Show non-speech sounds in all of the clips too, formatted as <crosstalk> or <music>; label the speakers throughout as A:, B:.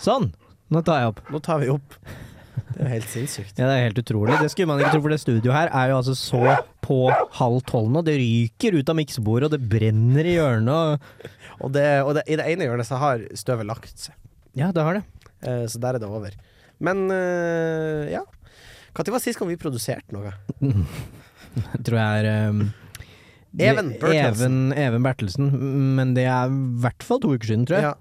A: Sånn! Nå tar jeg opp.
B: Nå tar vi opp. Det er jo helt sinnssykt.
A: Ja, Det er helt utrolig. Det skulle man ikke tro, for det studioet her er jo altså så på halv tolv nå. Det ryker ut av miksebordet, og det brenner i hjørnet. Og
B: <laughs> Og, det, og det, i det ene hjørnet så har støvet lagt seg,
A: ja, det har
B: <laughs>
A: det.
B: Eh, så der er det over. Men eh, ja. Når var sist gang vi produserte noe?
A: Det tror jeg er um,
B: Even
A: det-
B: Bertelsen.
A: Even, Even Bertelsen. Men det er i hvert fall to uker siden, tror jeg.
B: Ja.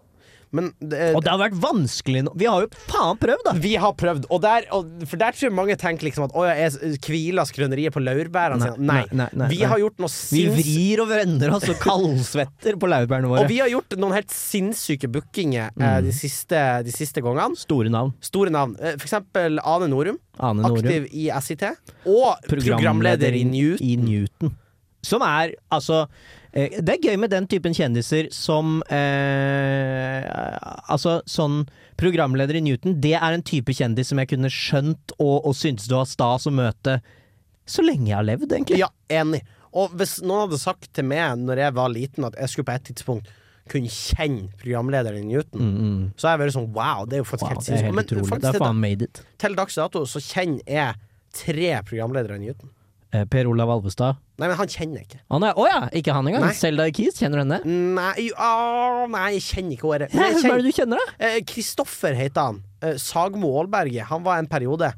B: Men det,
A: Og det har vært vanskelig nå. Vi har jo faen prøvd, da!
B: Vi har prøvd, og der, og, for der tror jeg mange tenker liksom at åja, jeg hviler skrøneriet på laurbærene sine. Nei,
A: Nei, nei, nei,
B: Vi
A: nei.
B: har gjort noe
A: Vi
B: sinns...
A: vrir og vender oss og
B: <laughs>
A: kaldsvetter på laurbærene våre.
B: Og vi har gjort noen helt sinnssyke bookinger eh, de, siste, de siste gangene.
A: Store navn.
B: Store navn. Eh, For eksempel Ane Norum,
A: Ane Norum.
B: aktiv i SIT. Og programleder i New.
A: i Newton. Som er altså eh, Det er gøy med den typen kjendiser som eh, Altså sånn programleder i Newton, det er en type kjendis som jeg kunne skjønt og, og syntes det var stas å møte så lenge jeg har levd, egentlig.
B: Ja, enig. Og hvis noen hadde sagt til meg når jeg var liten at jeg skulle på et tidspunkt kunne kjenne programlederen i Newton, så har jeg vært sånn wow, det er jo faktisk
A: Mm, Wow,
B: helt
A: det er
B: sinnssykt.
A: helt
B: Men
A: utrolig.
B: faktisk,
A: Det
B: til-
A: er faen made it.
B: Til dags dato så kjenner jeg tre programledere i Newton.
A: Eh, Per Olav Alvestad.
B: Nei, men han kjenner jeg ikke.
A: Å nei, å ja, ikke han engang.
B: Nei.
A: Selda Keys, kjenner du henne?
B: Nei, å, nei, jeg kjenner ikke året.
A: Hæ,
B: Men
A: Hvem
B: jeg
A: er
B: kjenner-
A: det du kjenner, da?
B: Eh, Kristoffer heter han. Eh, Sagmo Aalberget. Han var en periode.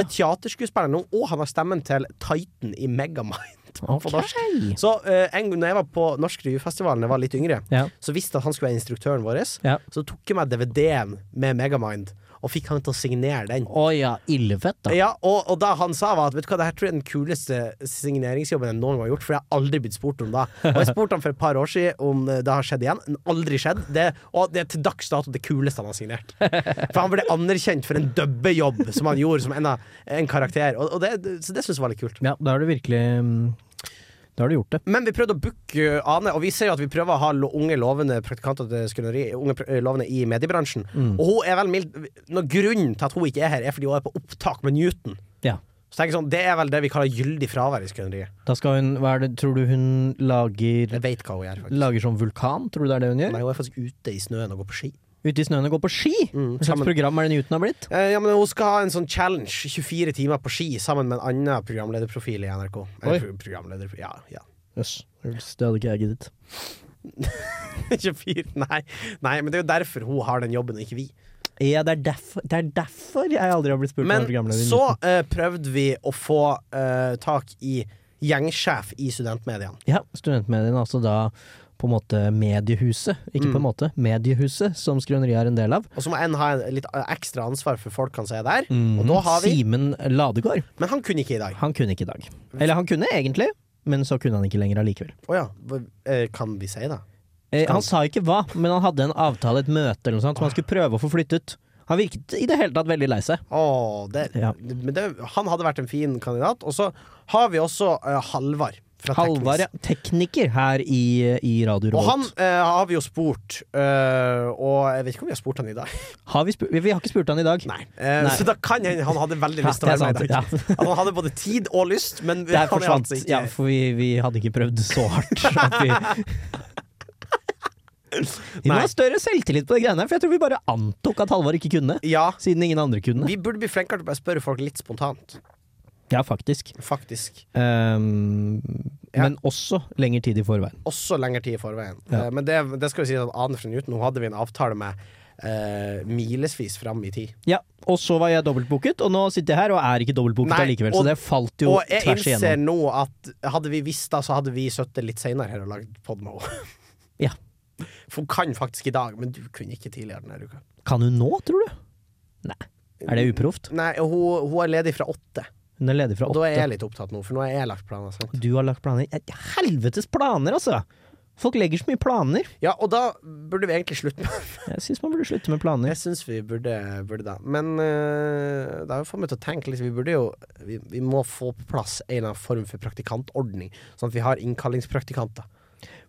A: Ja.
B: er teaterskuespiller nå, og han har stemmen til Titan i Megamind. På norsk.
A: Ok.
B: Så eh, en gang når jeg var på Norsk Revyfestival da jeg var litt yngre,
A: Ja.
B: så visste jeg at han skulle være instruktøren vår,
A: Ja.
B: så tok jeg meg DVD-en med Megamind, og fikk han til å signere den.
A: Å ja, illefett, da.
B: Ja, og, og da han sa var at Vet du hva, det her tror jeg er den kuleste signeringsjobben jeg noen gang har gjort, for jeg har aldri blitt spurt om da. Og jeg spurte han for et par år siden om eh, det har skjedd igjen. Den har Aldri skjedd. Det, og det er til dags dato det kuleste han har signert. For han ble anerkjent for en dubbejobb som han gjorde som en, av, en karakter. Og, og det, så det syns jeg var litt kult.
A: Ja, da har du virkelig mm, Da har du gjort det.
B: Men vi prøvde å booke uh, Ane, og vi ser jo at vi prøver å ha lo- unge lovende praktikanter til skrøneri, unge pr- eh, lovende i mediebransjen. Og hun er vel mild Når grunnen til at hun ikke er her, er fordi hun er på opptak med Newton.
A: Ja.
B: Så tenker jeg sånn, Det er vel det vi kaller gyldig fravær i skrøneriet.
A: Da skal hun Hva er det Tror du hun lager
B: Jeg vet hva hun gjør. faktisk
A: Lager sånn vulkan? Tror du det er det hun gjør?
B: Nei, Hun er faktisk ute i snøen og går på ski.
A: Ute i snøen og går på ski? Hva slags
B: sammen-
A: program er det Newton har blitt?
B: Eh, ja, men Hun skal ha en sånn challenge, 24 timer på ski, sammen med en annen programlederprofil i NRK.
A: Oi.
B: Eller, pro programleder, ja, ja. <laughs>
A: Jøss. Yes. Det hadde ikke jeg giddet.
B: 24, nei. nei, men det er jo derfor hun har den jobben, og ikke vi.
A: Ja, det er derfor, det er derfor jeg aldri har blitt spurt om
B: Men
A: programleder. i
B: så eh, prøvde vi å få eh, tak i gjengsjef i studentmediene.
A: Ja, studentmediene, altså da på en måte mediehuset. Ikke på en måte, mediehuset, som Skrøneriet er en del av.
B: Og så må en ha en, litt eh, ekstra ansvar for folkene som er der.
A: Mhm.
B: Og da har vi
A: Simen Ladegård.
B: Men han kunne ikke i dag.
A: Han kunne ikke i dag. Eller han kunne egentlig, men så kunne han ikke lenger allikevel.
B: Å ja. hva- eh, Kan vi si det?
A: Eh, han sa ikke hva, men han hadde en avtale, et møte eller noe sånt, som han skulle prøve å få flyttet. Han virket i det hele tatt veldig lei seg.
B: Å, det,
A: Ja.
B: men det, han hadde vært en fin kandidat. Og så har vi også eh, Halvard fra
A: Halvard, ja.
B: Teknisk.
A: Tekniker her i, i Radio
B: Og
A: Revolt.
B: han eh, har vi jo spurt, eh, og jeg vet ikke om vi har spurt han i dag.
A: har vi, spu- vi har ikke spurt han i dag.
B: Nei. Eh,
A: Nei.
B: Så da kan hende han hadde veldig
A: Ja,
B: lyst til
A: <laughs>
B: å
A: det er
B: være med i dag.
A: sant,
B: At Han hadde både tid og lyst, men
A: Der
B: han er
A: forsvant
B: altså ikke
A: Ja, for vi, vi hadde ikke prøvd så
B: <laughs>
A: hardt. At vi vi må
B: Nei.
A: ha større selvtillit på de greiene her, for jeg tror vi bare antok at Halvard ikke kunne.
B: Ja,
A: Siden ingen andre kunne.
B: vi burde bli flinkere til å bare spørre folk litt spontant,
A: Ja, faktisk.
B: faktisk.
A: Ehm,
B: Ja.
A: Men også lengre tid i forveien.
B: Også lengre tid i forveien.
A: Ja.
B: Eh, Men det, det skal vi si at Ane fra Newton Hun hadde vi en avtale med eh, milesvis fram i tid.
A: Ja, Og så var jeg dobbeltbooket, og nå sitter jeg her og er ikke dobbeltbooket
B: Nei,
A: allikevel. Så
B: og-
A: det falt jo
B: Og jeg
A: tvers
B: innser
A: igjennom.
B: nå at hadde vi visst da, så hadde vi sittet litt seinere her og lagd pod med henne. <laughs>
A: Ja.
B: For hun kan faktisk i dag, men du kunne ikke tidligere denne uka.
A: Kan hun nå, tror du? Nei. Er det uproft?
B: Nei, hun, hun er ledig fra åtte,
A: Hun er ledig fra
B: og da
A: åtte.
B: er jeg litt opptatt nå, for nå har jeg lagt planer. Sant?
A: Du har lagt planer. Eh, Helvetes planer, altså! Folk legger så mye planer.
B: Ja, og da burde vi egentlig slutte med
A: Jeg syns man burde slutte med planer.
B: Jeg syns vi burde, burde det. Men eh, det har jo fått meg til å tenke litt. Vi burde jo vi, vi må få på plass en eller annen form for praktikantordning, sånn at vi har innkallingspraktikanter.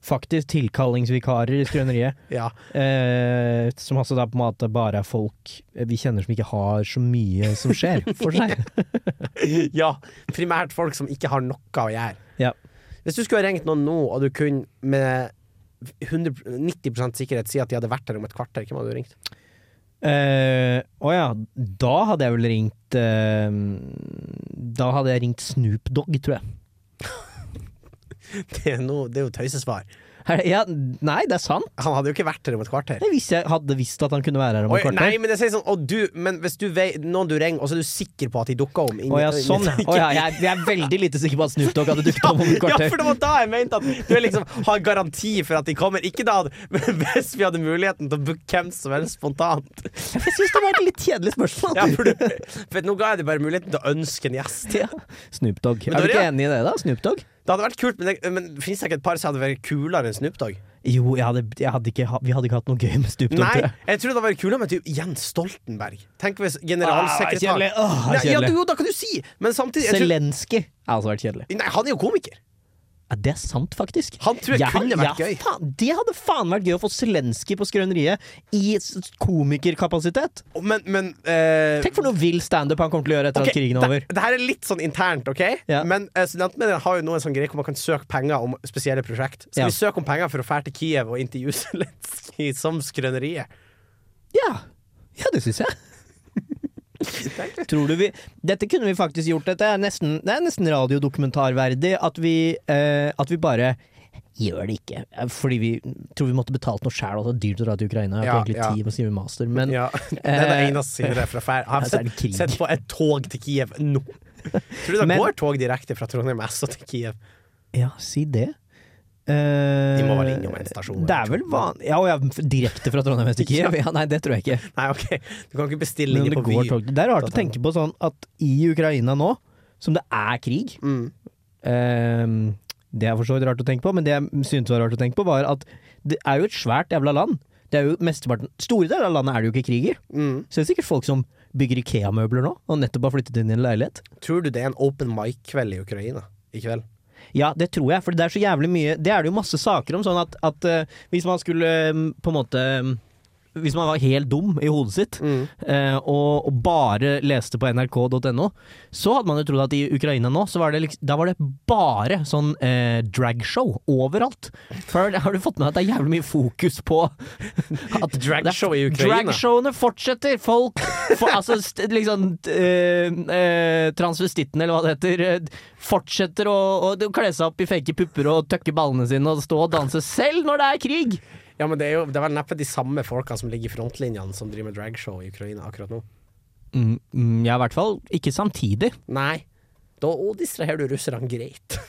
A: Faktisk tilkallingsvikarer i skrøneriet,
B: Ja.
A: <laughs>
B: <laughs>
A: eh, som altså da på en måte bare er folk eh, vi kjenner som ikke har så mye som skjer for seg.
B: <laughs> ja. Primært folk som ikke har noe å gjøre.
A: Ja.
B: Hvis du skulle ha ringt noen nå, og du kunne med 100, 90 sikkerhet si at de hadde vært her om et kvarter, hvem hadde du ringt? <laughs>
A: Eh, Å ja, da hadde jeg vel ringt eh, Da hadde jeg ringt Snoop Dogg, tror jeg.
B: Det er, noe, det er jo tøysesvar.
A: Er det, ja, nei, det er sant.
B: Han hadde jo ikke vært her om et kvarter.
A: Jeg, visste, jeg hadde visst at han kunne være her om
B: Oi,
A: et kvarter.
B: nei, men jeg sier sånn og du, Men hvis du vei, noen du ringer, og så er du sikker på at de dukker om inn-
A: Å ja, sånn.
B: <laughs>
A: ja.
B: inn-
A: Å ja, jeg, jeg er veldig lite sikker på at Snoop Dogg hadde dukket opp om et
B: Ja,
A: kvarter. <laughs>
B: for det var da jeg mente at du liksom har garanti for at de kommer. Ikke da, men hvis vi hadde muligheten til å booke hvem som helst spontant.
A: Jeg syns det var et litt kjedelig spørsmål.
B: Ja, for, du, for nå ga jeg deg bare muligheten til å ønske en gjest.
A: Ja. Snoop Dogg.
B: Men
A: Er du
B: dere-
A: ikke enig i det, da? Snoop Dogg?
B: Det hadde vært kult, men, det, men finnes det ikke et par som hadde vært kulere enn Snoop Dogg?
A: Jo, jeg hadde, jeg hadde ikke, ha- vi hadde ikke hatt noe gøy med Snoop Dogg.
B: Nei,
A: tror jeg.
B: jeg tror det hadde vært kulere med typ Jens Stoltenberg. Tenk
A: Ah,
B: hvis
A: det er
B: generalsekretær
A: kjedelig. Åh, det er
B: Nei, ja,
A: kjedelig.
B: jo, da kan du si! Men samtidig jeg tror,
A: Zelenskyj har altså vært kjedelig.
B: Nei, han er jo komiker.
A: Ja, det er sant, faktisk.
B: Han tror jeg kunne vært
A: ja,
B: gøy.
A: Faen, det hadde faen vært gøy å få Zelenskyj på Skrøneriet i s- komikerkapasitet.
B: Men, men eh,
A: Tenk for noe vill standup han kommer til å gjøre etter
B: Ok,
A: at krigen
B: det-
A: er over.
B: Det her er litt sånn internt, ok?
A: Ja.
B: Men eh, studentmediene har jo nå en sånn greie hvor man kan søke penger om spesielle prosjekt. Skal
A: Ja.
B: vi søke om penger for å fære til Kiev og intervjue Zelenskyj <laughs> som skrøneriet?
A: Ja, ja det syns jeg. Tror du vi Dette kunne vi faktisk gjort. Dette er nesten, det er nesten radiodokumentarverdig at vi, eh, at vi bare gjør det ikke. Eh, Fordi vi tror vi måtte betalt noe sjæl. Altså, dyrt å dra til Ukraina. Jeg
B: Ja,
A: har ikke
B: ja.
A: egentlig tid med å skrive master, men
B: Ja, <laughs> det er
A: Eh,
B: det eneste siden det er fra fær. Jeg har
A: altså, er det
B: sett,
A: krig?
B: sett på et tog til Kiev
A: <laughs>
B: nå. Tror du det
A: Men-
B: går tog direkte fra Trondheim S og til Kiev?
A: Ja, si det. Eh,
B: De må vel innom en stasjon.
A: Det er vel van... Ja, og ja, direkte fra Trondheim
B: <laughs>
A: til Kiev? Ja, nei, det tror jeg ikke.
B: Nei, ok, du kan ikke bestille
A: Men om
B: inn
A: det
B: på
A: går
B: Vy.
A: tog Det er rart å tenke på sånn at i Ukraina nå, som det er krig
B: Mm.
A: ehm, Det er for så vidt rart å tenke på, men det jeg syntes var rart å tenke på, var at det er jo et svært jævla land. Det er jo mesteparten Store deler av landet er det jo ikke krig i.
B: Mm.
A: Så det er sikkert folk som bygger Ikea-møbler nå, og nettopp har flyttet inn i en leilighet.
B: Tror du det er en open mic-kveld i Ukraina i kveld?
A: Ja, det tror jeg, for det er så jævlig mye Det er det jo masse saker om, sånn at, at eh, hvis man skulle eh, på en måte eh, Hvis man var helt dum i hodet sitt
B: Mm.
A: eh, og, og bare leste på nrk.no, så hadde man jo trodd at i Ukraina nå, så var det liksom Da var det bare sånn eh, dragshow overalt. For har du fått med deg at det er jævlig mye fokus
B: <laughs>
A: på at
B: Dragshow i Ukraina?
A: Dragshowene fortsetter! Folk for, Altså st liksom eh, eh, Transvestitten, eller hva det heter, eh, fortsetter å, å kle seg opp i fake pupper og tøkke ballene sine og stå og danse selv når det er krig!
B: Ja, men det er jo det er vel neppe de samme folka som ligger i frontlinjene som driver med dragshow i Ukraina akkurat nå.
A: Mm, mm, ja, i hvert fall ikke samtidig.
B: Nei. Da å, distraherer du russerne greit.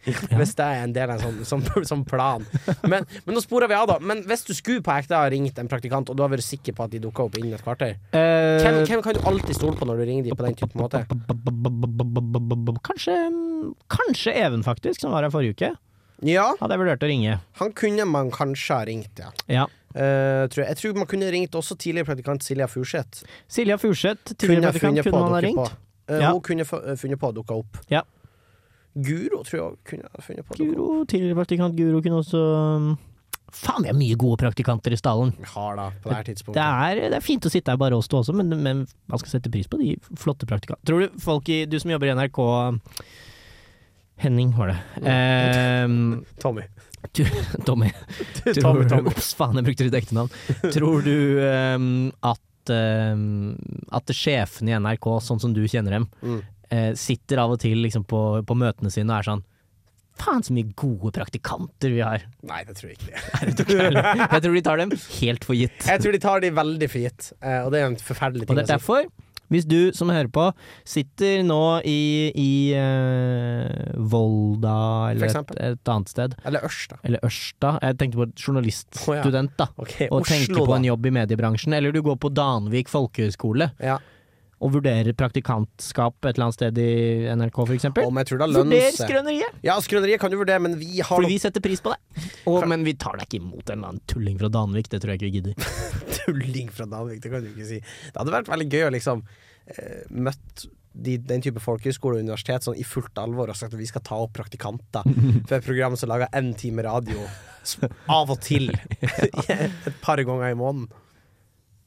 B: <laughs> Hvis det er en del av en sånn, sånn, sånn plan. Men, men nå sporer vi av, da. Men hvis du skulle på ekte ha ringt en praktikant, og du har vært sikker på at de dukka opp innen et kvarter,
A: Eh,
B: hvem, hvem kan du alltid stole på når du ringer de på den typen måte?
A: Kanskje Kanskje Even, faktisk, som var her forrige uke.
B: Ja,
A: Hadde jeg vurdert å ringe.
B: han kunne man kanskje ha ringt, ja.
A: Ja.
B: Eh, tror jeg. jeg tror man kunne ringt også tidligere praktikant Silja Furseth.
A: Silja Furseth,
B: Kunne
A: tidligere praktikant,
B: funnet på
A: kunne man
B: å
A: ha
B: dukke
A: ringt?
B: på. Eh,
A: Ja.
B: Hun kunne fu- eh, funnet på å dukke opp.
A: Ja.
B: Guro tror jeg kunne ha funnet på å dukke opp.
A: Guro, tidligere praktikant Guro kunne også um, Faen, vi har mye gode praktikanter i stallen.
B: Vi har da, på det her
A: Det
B: tidspunktet.
A: er, det er fint å sitte her bare oss to også, men, men man skal sette pris på de flotte praktikantene. Tror du folk i Du som jobber i NRK Henning, var det. Ehm,
B: Tommy.
A: Tommy. Tror
B: <laughs> Tommy,
A: du,
B: Tommy.
A: Ops, faen, jeg brukte ditt ekte navn. Tror du ehm, at um, At sjefene i NRK, sånn som du kjenner dem,
B: Mm.
A: eh, sitter av og til liksom, på, på møtene sine og er sånn Faen, så mye gode praktikanter vi
B: <laughs>
A: har.
B: Nei, det tror jeg ikke. det.
A: Jeg tror de tar dem helt for gitt.
B: Jeg tror de tar de veldig for gitt, eh, og det er en forferdelig
A: Og
B: ting
A: det er
B: å si.
A: derfor, hvis du som hører på, sitter nå i, i eh, Volda eller
B: For
A: et, et annet sted,
B: Eller Ørsta.
A: eller Ørsta Jeg tenkte på et journaliststudent, da.
B: Ok,
A: Og tenker
B: Oslo,
A: på
B: da.
A: en jobb i mediebransjen. Eller du går på Danvik folkehøgskole
B: Ja.
A: og vurderer praktikantskap et eller annet sted i NRK, for eksempel.
B: Om jeg tror det lønner
A: Vurder
B: seg.
A: skrøneriet,
B: Ja, skrøneriet kan du vurdere, men vi har
A: for
B: noen
A: vi setter pris på det. Og, men vi tar deg ikke imot en eller annen tulling fra Danvik, det tror jeg ikke vi gidder.
B: tulling fra Danvik, det kan du ikke si. Det hadde vært veldig gøy å liksom eh, møtt de, den type folkehøyskole og universitet sånn i fullt alvor og sagt at vi skal ta opp
A: <laughs>
B: praktikanter for et program som lager én time radio s- av og
A: <laughs>
B: til <laughs> et par ganger i måneden.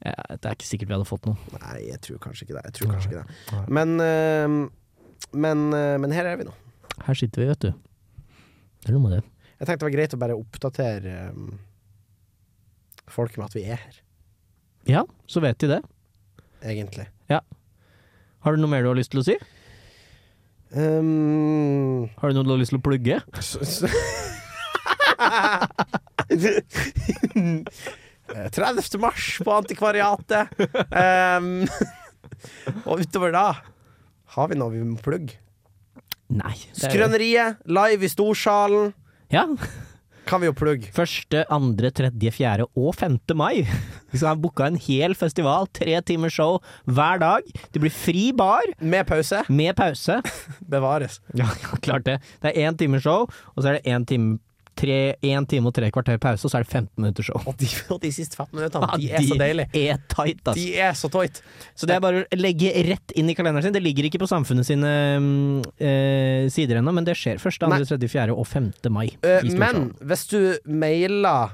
A: Ja, det er ikke sikkert vi hadde fått noe.
B: Nei, jeg tror kanskje ikke det. Jeg tror kanskje ikke det. Men, eh, men, eh, men her er vi nå.
A: Her sitter vi, vet du. Det er noe med det.
B: Jeg um, tenkte det var greit å bare oppdatere eh, folk med at vi er her.
A: Ja, så vet de det.
B: egentlig.
A: Har du noe mer du har lyst til å si?
B: Um,
A: Har du noe du har lyst til å plugge?
B: s- s- 30. Eh, mars på Antikvariatet. Um, og utover da har vi noe vi må plugge.
A: Nei. det er-
B: Skrøneriet, live i Storsalen,
A: Ja.
B: kan vi jo plugge.
A: Første, andre, tredje, fjerde og femte mai. <laughs> Vi skal ha booka en hel festival. Tre timers show hver dag. Det blir fri bar
B: Med pause.
A: med
B: <laughs>
A: pause.
B: Bevares.
A: Ja, ja, klart det. Det er én times show, og så er det én time, tre, én time og tre kvarter pause, og så er det 15 minutter show.
B: Og de, og de siste 15 minuttene,
A: <laughs>
B: de er så deilige.
A: er tight, ass.
B: De er så tight.
A: Så det er bare å legge rett inn i kalenderen sin. Det ligger ikke på samfunnet sine mm, eh, sider ennå, men det skjer 1., 2.,
B: Nei.
A: 3., 4. og 5. mai. i
B: Eh,
A: Storsalen.
B: men hvis du mailer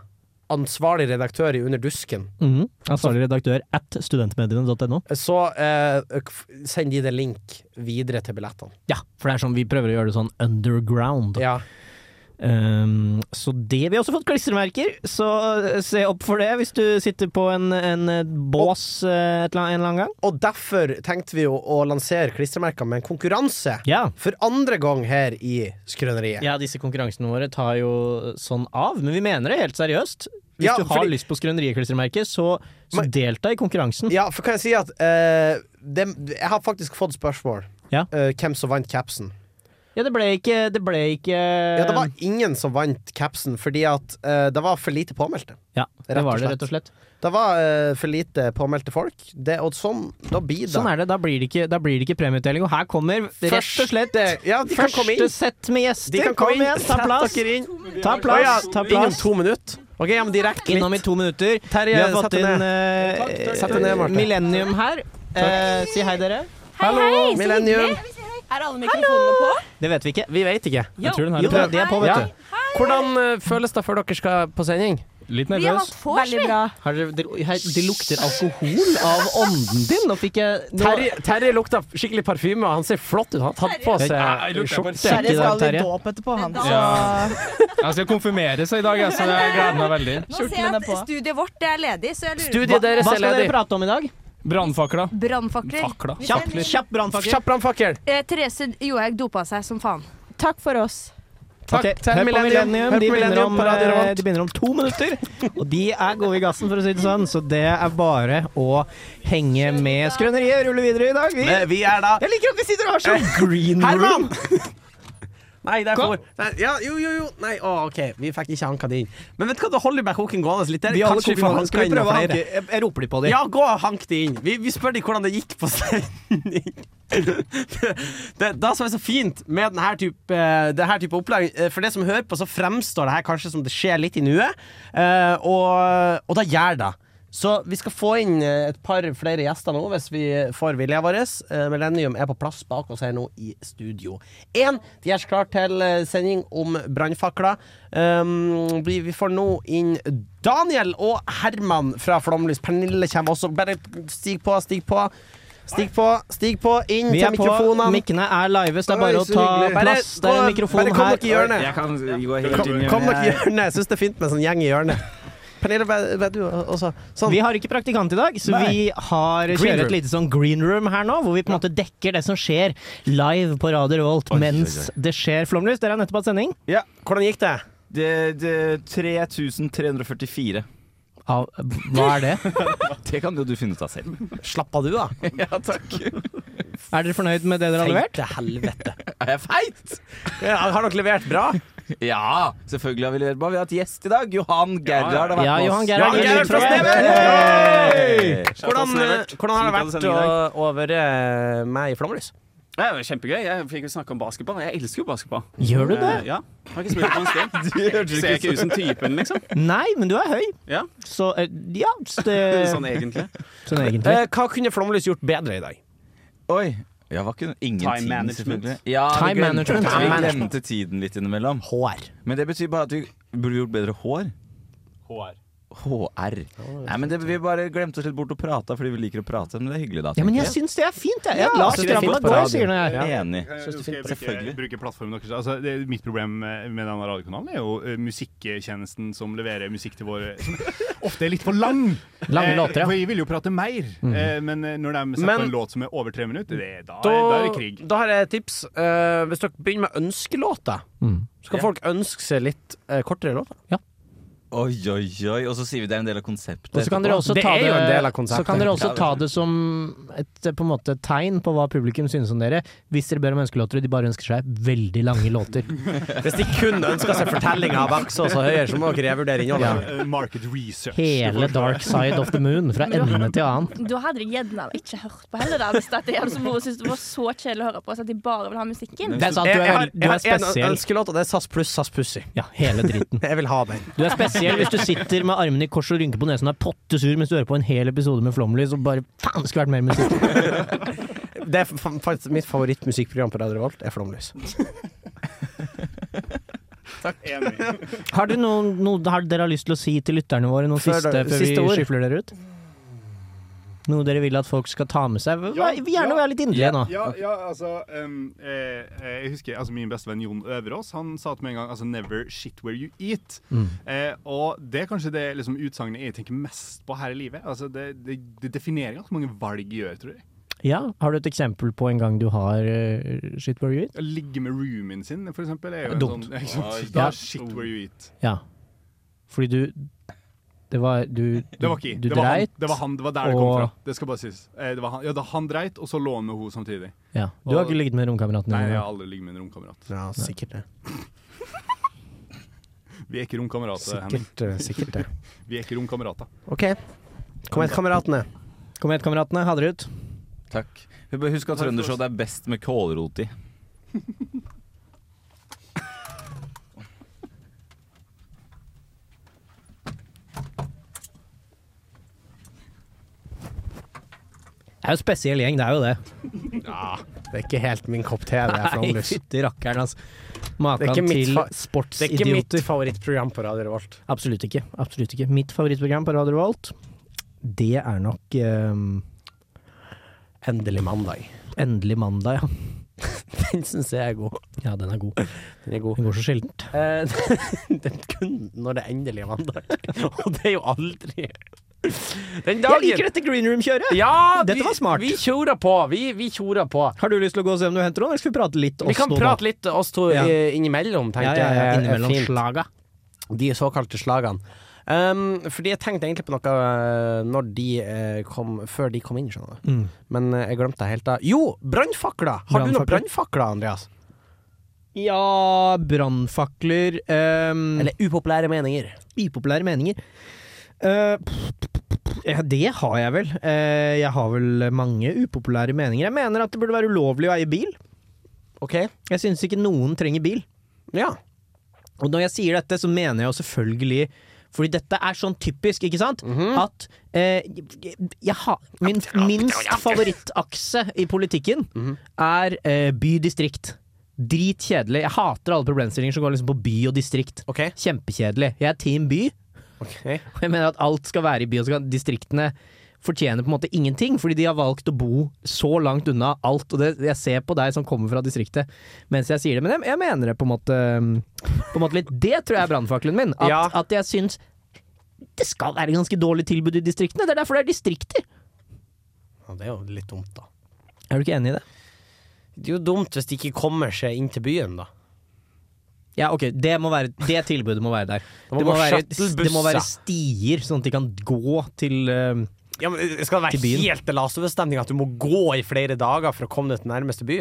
B: ansvarlig redaktør i Under dusken,
A: Mhm. Ansvarlig redaktør at studentmediene.no.
B: så eh, f- send de det link videre til billettene.
A: Ja, for det er sånn vi prøver å gjøre det sånn underground.
B: Ja.
A: Ehm, så det Vi har også fått klistremerker, så eh, se opp for det hvis du sitter på en, en eh, bås eh, et eller annet, en eller annen gang.
B: Og derfor tenkte vi jo å lansere klistremerker med en konkurranse.
A: Ja.
B: For andre gang her i Skrøneriet.
A: ja, disse konkurransene våre tar jo sånn av, men vi mener det helt seriøst. Hvis
B: Ja,
A: du har
B: fordi-
A: lyst på skrøneriklistremerke, så, så
B: Men-
A: delta i konkurransen.
B: Ja, for kan jeg si at eh, det, Jeg har faktisk fått spørsmål.
A: Ja.
B: Eh, hvem som vant capsen?
A: Ja, det ble ikke Det ble ikke eh,
B: Ja, det var ingen som vant capsen, fordi at eh, det var for lite påmeldte.
A: Ja, det
B: rett og
A: var det,
B: slett.
A: rett og slett.
B: Det var eh, for lite påmeldte folk, det, og sånn da blir det.
A: Sånn er det. Da blir det ikke, da blir det ikke premieutdeling. Og her kommer rett
B: Første-
A: og slett
B: Eh, Ja, de kan komme inn.
A: første sett med gjester.
B: De kan
A: Kom
B: komme inn.
A: igjen, ta
B: Sett
A: plass!
B: dere inn.
A: Ta
B: Å ja,
A: plass! Ta
B: Innom
A: plass.
B: to minutter. Ok, ja, men direkte
A: Innom i to minutter.
B: Terje,
A: Vi har
B: sett
A: fått
B: deg
A: inn
B: ned.
A: eh,
C: Takk, takk,
B: sett deg ned, Marte.
A: Millennium her. Eh, si hei, dere.
D: Hei, hei, så
B: Millennium.
D: hyggelig. Er alle mikrofonene på?
A: Det vet vi ikke.
B: Vi vet ikke.
C: Jeg tror den her
A: Jo,
C: er bra.
A: de er på, vet
B: Ja.
A: du.
B: Hvordan eh, føles det før dere skal på sending?
C: Litt
D: Vi har
C: nervøs.
D: hatt vors,
E: Veldig
D: vi.
E: bra.
A: Har dere- det, her, det lukter alkohol av ånden din. Nå fikk jeg nå,
B: Terje, Terje lukta skikkelig parfyme, og han ser flott ut. Han har tatt på seg
C: Ja, jeg lukter på en
A: Skjerp
E: Terje
A: deg,
E: skal i
A: Terje.
E: dåp etterpå, han.
D: Ja.
E: Så
C: Han skal konfirmere seg i dag, jeg, så jeg gleder meg veldig.
D: Nå ser jeg
E: Kjortelen er
D: at
E: på.
D: studiet vårt er ledig, så jeg lurer
A: Hva
B: Studiet deres er
A: skal dere
B: ledig.
A: prate om i dag?
C: Brannfakler.
D: Brannfakler.
C: Fakler.
D: Vi
A: Kjapp,
D: sender-
A: kjapp brannfakkel.
B: Kjapp brannfakkel.
D: Eh, Therese Johaug dopa seg som faen.
E: takk for oss.
B: Takk
A: Ok,
B: til
A: hør på
B: Millennium. Hør på
A: De begynner,
B: Millennium
A: om,
B: på Radio
A: eh,
B: Revolt.
A: de begynner om to minutter, og de er gode i gassen, for å si det sånn. Så det er bare å henge med skrøneriet. Rulle videre i dag. Vi,
B: Eh, Vi er da
A: jeg liker at vi sitter og har sånn green room.
B: Herman! Nei, det er for Nei, ja, Jo, jo, jo. Nei, å, OK, vi fikk ikke hanka det inn. Men vet du hva, da holder vi bare koken gående litt. Der.
A: Vi holder
B: Kanskje vi får
A: koken
B: hanka
A: Skal vi
B: inn noen
A: prøve å
B: flere.
A: hanke? Jeg, jeg roper litt på dem.
B: Ja, gå og hank det inn. Vi, vi spør de hvordan det gikk på sending. <laughs> Det, det som er så fint med denne type, det her type opplæring eh, For det som hører på, så fremstår det her kanskje som det skjer litt i nuet, eh, og, og da gjør det. Så vi skal få inn eh, et par flere gjester nå, hvis vi får viljen vår. Eh, Millennium er på plass bak oss her nå i studio. Én, de gjør seg klar til eh, sending om brannfakler. Um, vi, vi får nå inn Daniel og Herman fra Flomlys. Pernille kommer også. Bare stig på, stig på. Stig på, stig på, inn
A: Vi
B: til
A: er på,
B: mikrofonene.
A: mikkene er live, så det er bare
B: Oi,
A: å
B: så
A: ta
B: hyggelig. Bare
A: plass. Det er en
B: gå-
A: mikrofon
B: bare kom
A: her.
B: dere i hjørnet.
C: Jeg kan
B: Kom,
C: gå helt inn
B: kom dere i
C: i
B: hjørnet. Jeg syns det er fint med en sånn gjeng i hjørnet. Pernille, hva- hva er du også? Sånn.
A: Vi har ikke praktikant i dag, så
B: Nei.
A: vi har
B: Green
A: kjører
B: room.
A: et lite sånn green room her nå, hvor vi på en måte dekker det som skjer live på Radio Revolt mens det skjer flomlys. Dere har nettopp hatt sending.
B: Ja, hvordan gikk det?
C: Det, det 3344.
A: Av, hva er det?
C: Det kan jo du finne ut av selv.
B: Slappa du, da?
C: Ja, takk.
A: <laughs> Er dere fornøyd med det dere har levert?
B: Feite helvete.
C: <laughs> Er jeg feit?
B: Ja, har dere levert bra?
C: Ja, selvfølgelig har vi levert bra. Vi har hatt gjest i dag. Johan Gerhard har vært
A: Ja,
C: med oss.
A: Johan Gerhard.
B: Johan Gerhard fra Snevert!
C: Hey!
B: <laughs> Hvordan, eh, hvordan har det vært å, å være eh, meg i Flomlys?
F: Ja, det var kjempegøy. Jeg fikk jo snakke om basketball. Jeg elsker jo basketball.
A: Gjør du det?
F: Eh, Ja. Har ikke spilt på en
A: <laughs>
F: stund. Ser jeg ikke ut som typen, liksom?
A: Nei, men du er høy.
F: Ja.
A: Så eh, ja, så det,
B: <laughs>
F: Sånn egentlig.
A: sånn egentlig.
B: Eh, hva kunne Flomlys gjort bedre i dag?
C: Oi. Ja, var ikke ingenting,
F: Time management.
C: selvfølgelig. Ja, vi
A: Time
C: glemte-
A: management. Time
C: Vi
A: management.
C: glemte tiden litt innimellom.
A: HR.
C: Men det betyr bare at vi burde gjort bedre hår.
F: HR.
C: HR. Nei, men det, Vi bare glemte oss litt bort og prata fordi vi liker å prate, men det er hyggelig da.
A: Ja, men
C: tenker
A: jeg syns det er fint, jeg. Jeg er
B: Ja,
A: glad
B: jeg synes det er
A: skravla
B: fint på
A: går,
B: radio.
A: sier nå jeg.
C: jeg. Enig.
E: Eh,
C: Synes
E: Nå
C: det er
E: skal jeg
C: fint.
E: bruke,
C: Selvfølgelig.
E: bruke plattformen deres. Altså, det, mitt problem eh, med denne radiokanalen er jo eh, musikktjenesten som leverer musikk til våre Som ofte er litt for lang!
A: Lange
E: Eh,
A: låter, ja. Mm.
E: For jeg vil jo prate mer, eh, men eh, når de setter
B: Men-
E: på en låt som er over tre minutter, det, er- da,
B: Da,
E: er- da er det krig.
B: da har jeg et tips. Eh, hvis dere begynner med ønskelåter,
A: Mm.
B: så kan folk ønske seg litt eh, kortere låter.
C: Oi, oi, oi. Og så sier vi det er en del av konseptet.
A: Og så kan dere også
B: Det
A: ta
B: er jo en del av
A: det,
B: konseptet.
A: så kan dere også
C: Ja,
A: ta det som et på en måte, tegn på hva publikum synes om dere, hvis dere ber om ønskelåter og de bare ønsker seg veldig lange
B: <laughs>
A: låter.
B: Hvis de kun ønsker seg fortellinga av Akse og så høyere, så må dere revurdere innholdet.
E: Eh, Market research.
A: Hele Dark Side of the Moon, fra ende til annen.
G: Da hadde jeg gjerne ikke hørt på heller, da, hvis dette er en som bare synes det var så kjedelig å høre på, så at de bare vil ha musikken.
A: Det er sant,
B: Jeg,
A: du
B: jeg,
A: er,
B: har,
A: du
B: jeg
A: er
B: har en ø-
A: spesiell.
B: ønskelåt, og det er SAS pluss SAS Pussy.
A: Ja, hele dritten.
B: Jeg vil ha den.
A: Du er spesiell hvis du sitter med armene i kors og rynker på nesen og er pottesur mens du hører på en hel episode med Flomlys og bare faen, det skulle vært mer musikk.
B: Det er fa- faktisk mitt favorittmusikkprogram på Radio Revolt, er Flomlys.
E: <laughs> Enig.
A: Har dere noe, noe har dere har lyst til å si til lytterne våre noe
B: Før
A: siste
B: da-
A: før
B: siste
A: vi
B: ord?
A: skyfler dere ut? Noe dere vil at folk skal ta med seg? Vær-
E: Ja,
A: Gjerne
E: ja.
A: være litt inderlige nå.
E: Ja, ja, altså em, eh, eh, Jeg husker altså, min bestevenn Jon Øverås Han sa til meg en gang altså, 'never shit where you eat'.
A: Mm.
E: Eh, og det er kanskje det liksom, utsagnet jeg tenker mest på her i livet. Altså, det, det, det definerer ganske mange valg jeg gjør, tror jeg.
A: Ja, Har du et eksempel på en gang du har eh, shit where you eat?
E: Å ligge med roomien sin, for eksempel, er jo en
A: Dumt.
E: sånn <laughs> ikke sant?
A: Ja.
E: Da er shit where you eat.
A: Ja. Fordi du Det var du
E: Det var ikke jeg.
A: Du
E: det, var han,
A: dreit,
E: det var han, det var der det kom
A: og-
E: fra. Det skal bare sies. Eh, det var han, ja, da han dreit, og så lå han med henne samtidig.
A: Ja. Du har ikke ligget med romkameraten
E: Nei,
A: din?
E: jeg
A: ja.
E: har aldri ligget med en romkamerat.
B: Ja, sikkert det.
E: Vi er ikke romkamerater, Henning.
A: <laughs>
B: Sikkert, eh, sikkert det.
E: Vi er ikke romkamerater.
B: OK. Kom igjen, kameratene.
A: Kom igjen, kameratene. Ha dere ut.
C: Takk. Husk at trøndershowet er best med kålrot i.
A: Det er jo en spesiell gjeng, det er jo det.
B: Det er ikke helt min kopp te, det er
A: Nei,
B: Flomlys.
A: fytti rakkeren, altså.
B: Det er ikke
A: Maken
B: mitt
A: til
B: fa- Det er ikke mitt
A: sportsidioter.
B: favorittprogram på Radio Revolt.
A: Absolutt ikke. Absolutt ikke. Mitt favorittprogram på Radio Revolt, det er nok ehm,
B: Endelig mandag.
A: Endelig mandag, ja.
B: <laughs> Den syns jeg er god.
A: Ja, den er god.
B: Den er god.
A: Den går så sjeldent.
B: Eh, <laughs> det er kun når det endelig er mandag. <laughs> Og det er jo aldri. Den
A: Jeg liker dette green room-kjøret!
B: Ja,
A: Dette var smart.
B: Vi tjorer på. Vi, vi tjorer på.
A: Har du lyst til å gå og se om du henter noen, eller skal vi prate litt
B: Vi
A: oss
B: kan
A: nå,
B: prate litt oss to
A: Ja.
B: eh, innimellom,
A: da? Ja,
B: tenker
A: ja, ja,
B: jeg. eh, er
A: innimellom
B: fint.
A: slaga.
B: De såkalte slagene. Um, fordi jeg tenkte egentlig på noe eh, når de, eh, kom, før de kom inn, skjønner du.
A: Mm.
B: Men eh, jeg glemte det helt da. Jo, brannfakler! Har du noen
A: Brannfakler?
B: brannfakler, Andreas?
A: Ja, brannfakler ehm,
B: Eller upopulære meninger?
A: upopulære meninger. Eh, pff, pff, pff, ja, det har jeg vel. Eh, jeg har vel mange upopulære meninger. Jeg mener at det burde være ulovlig å eie bil.
B: OK?
A: Jeg syns ikke noen trenger bil.
B: Ja.
A: Og når jeg sier dette, så mener jeg jo selvfølgelig fordi dette er sånn typisk, ikke sant? At eh, jeg, jeg har Min minst favorittakse i politikken er eh, by-distrikt. Dritkjedelig. Jeg hater alle problemstillinger som går liksom på by og distrikt.
B: OK?
A: Kjempekjedelig. Jeg er team by.
B: Ok.
A: Og jeg mener at alt skal være i by, og så kan distriktene fortjener på en måte ingenting, fordi de har valgt å bo så langt unna alt. Og det, jeg ser på deg som kommer fra distriktet mens jeg sier det, men jeg, jeg mener det på en måte, um, på en måte litt. Det tror jeg er brannfakkelen min. At,
B: Ja.
A: at jeg syns det skal være ganske dårlig tilbud i distriktene. Det er derfor det er distrikter.
B: Ja, det er jo litt dumt, da.
A: Er du ikke enig i det?
B: Det er jo dumt hvis de ikke kommer seg inn til byen, da.
A: Ja, ok, det, må være, det tilbudet må være der.
B: må
A: Det må
B: gå
A: være,
B: shuttlebusser.
A: det må være stier, sånn at de kan gå til um,
B: Ja, men det Skal det
A: Til
B: være
A: byen.
B: helt elastovestemning at du må gå i flere dager for å komme deg til nærmeste by?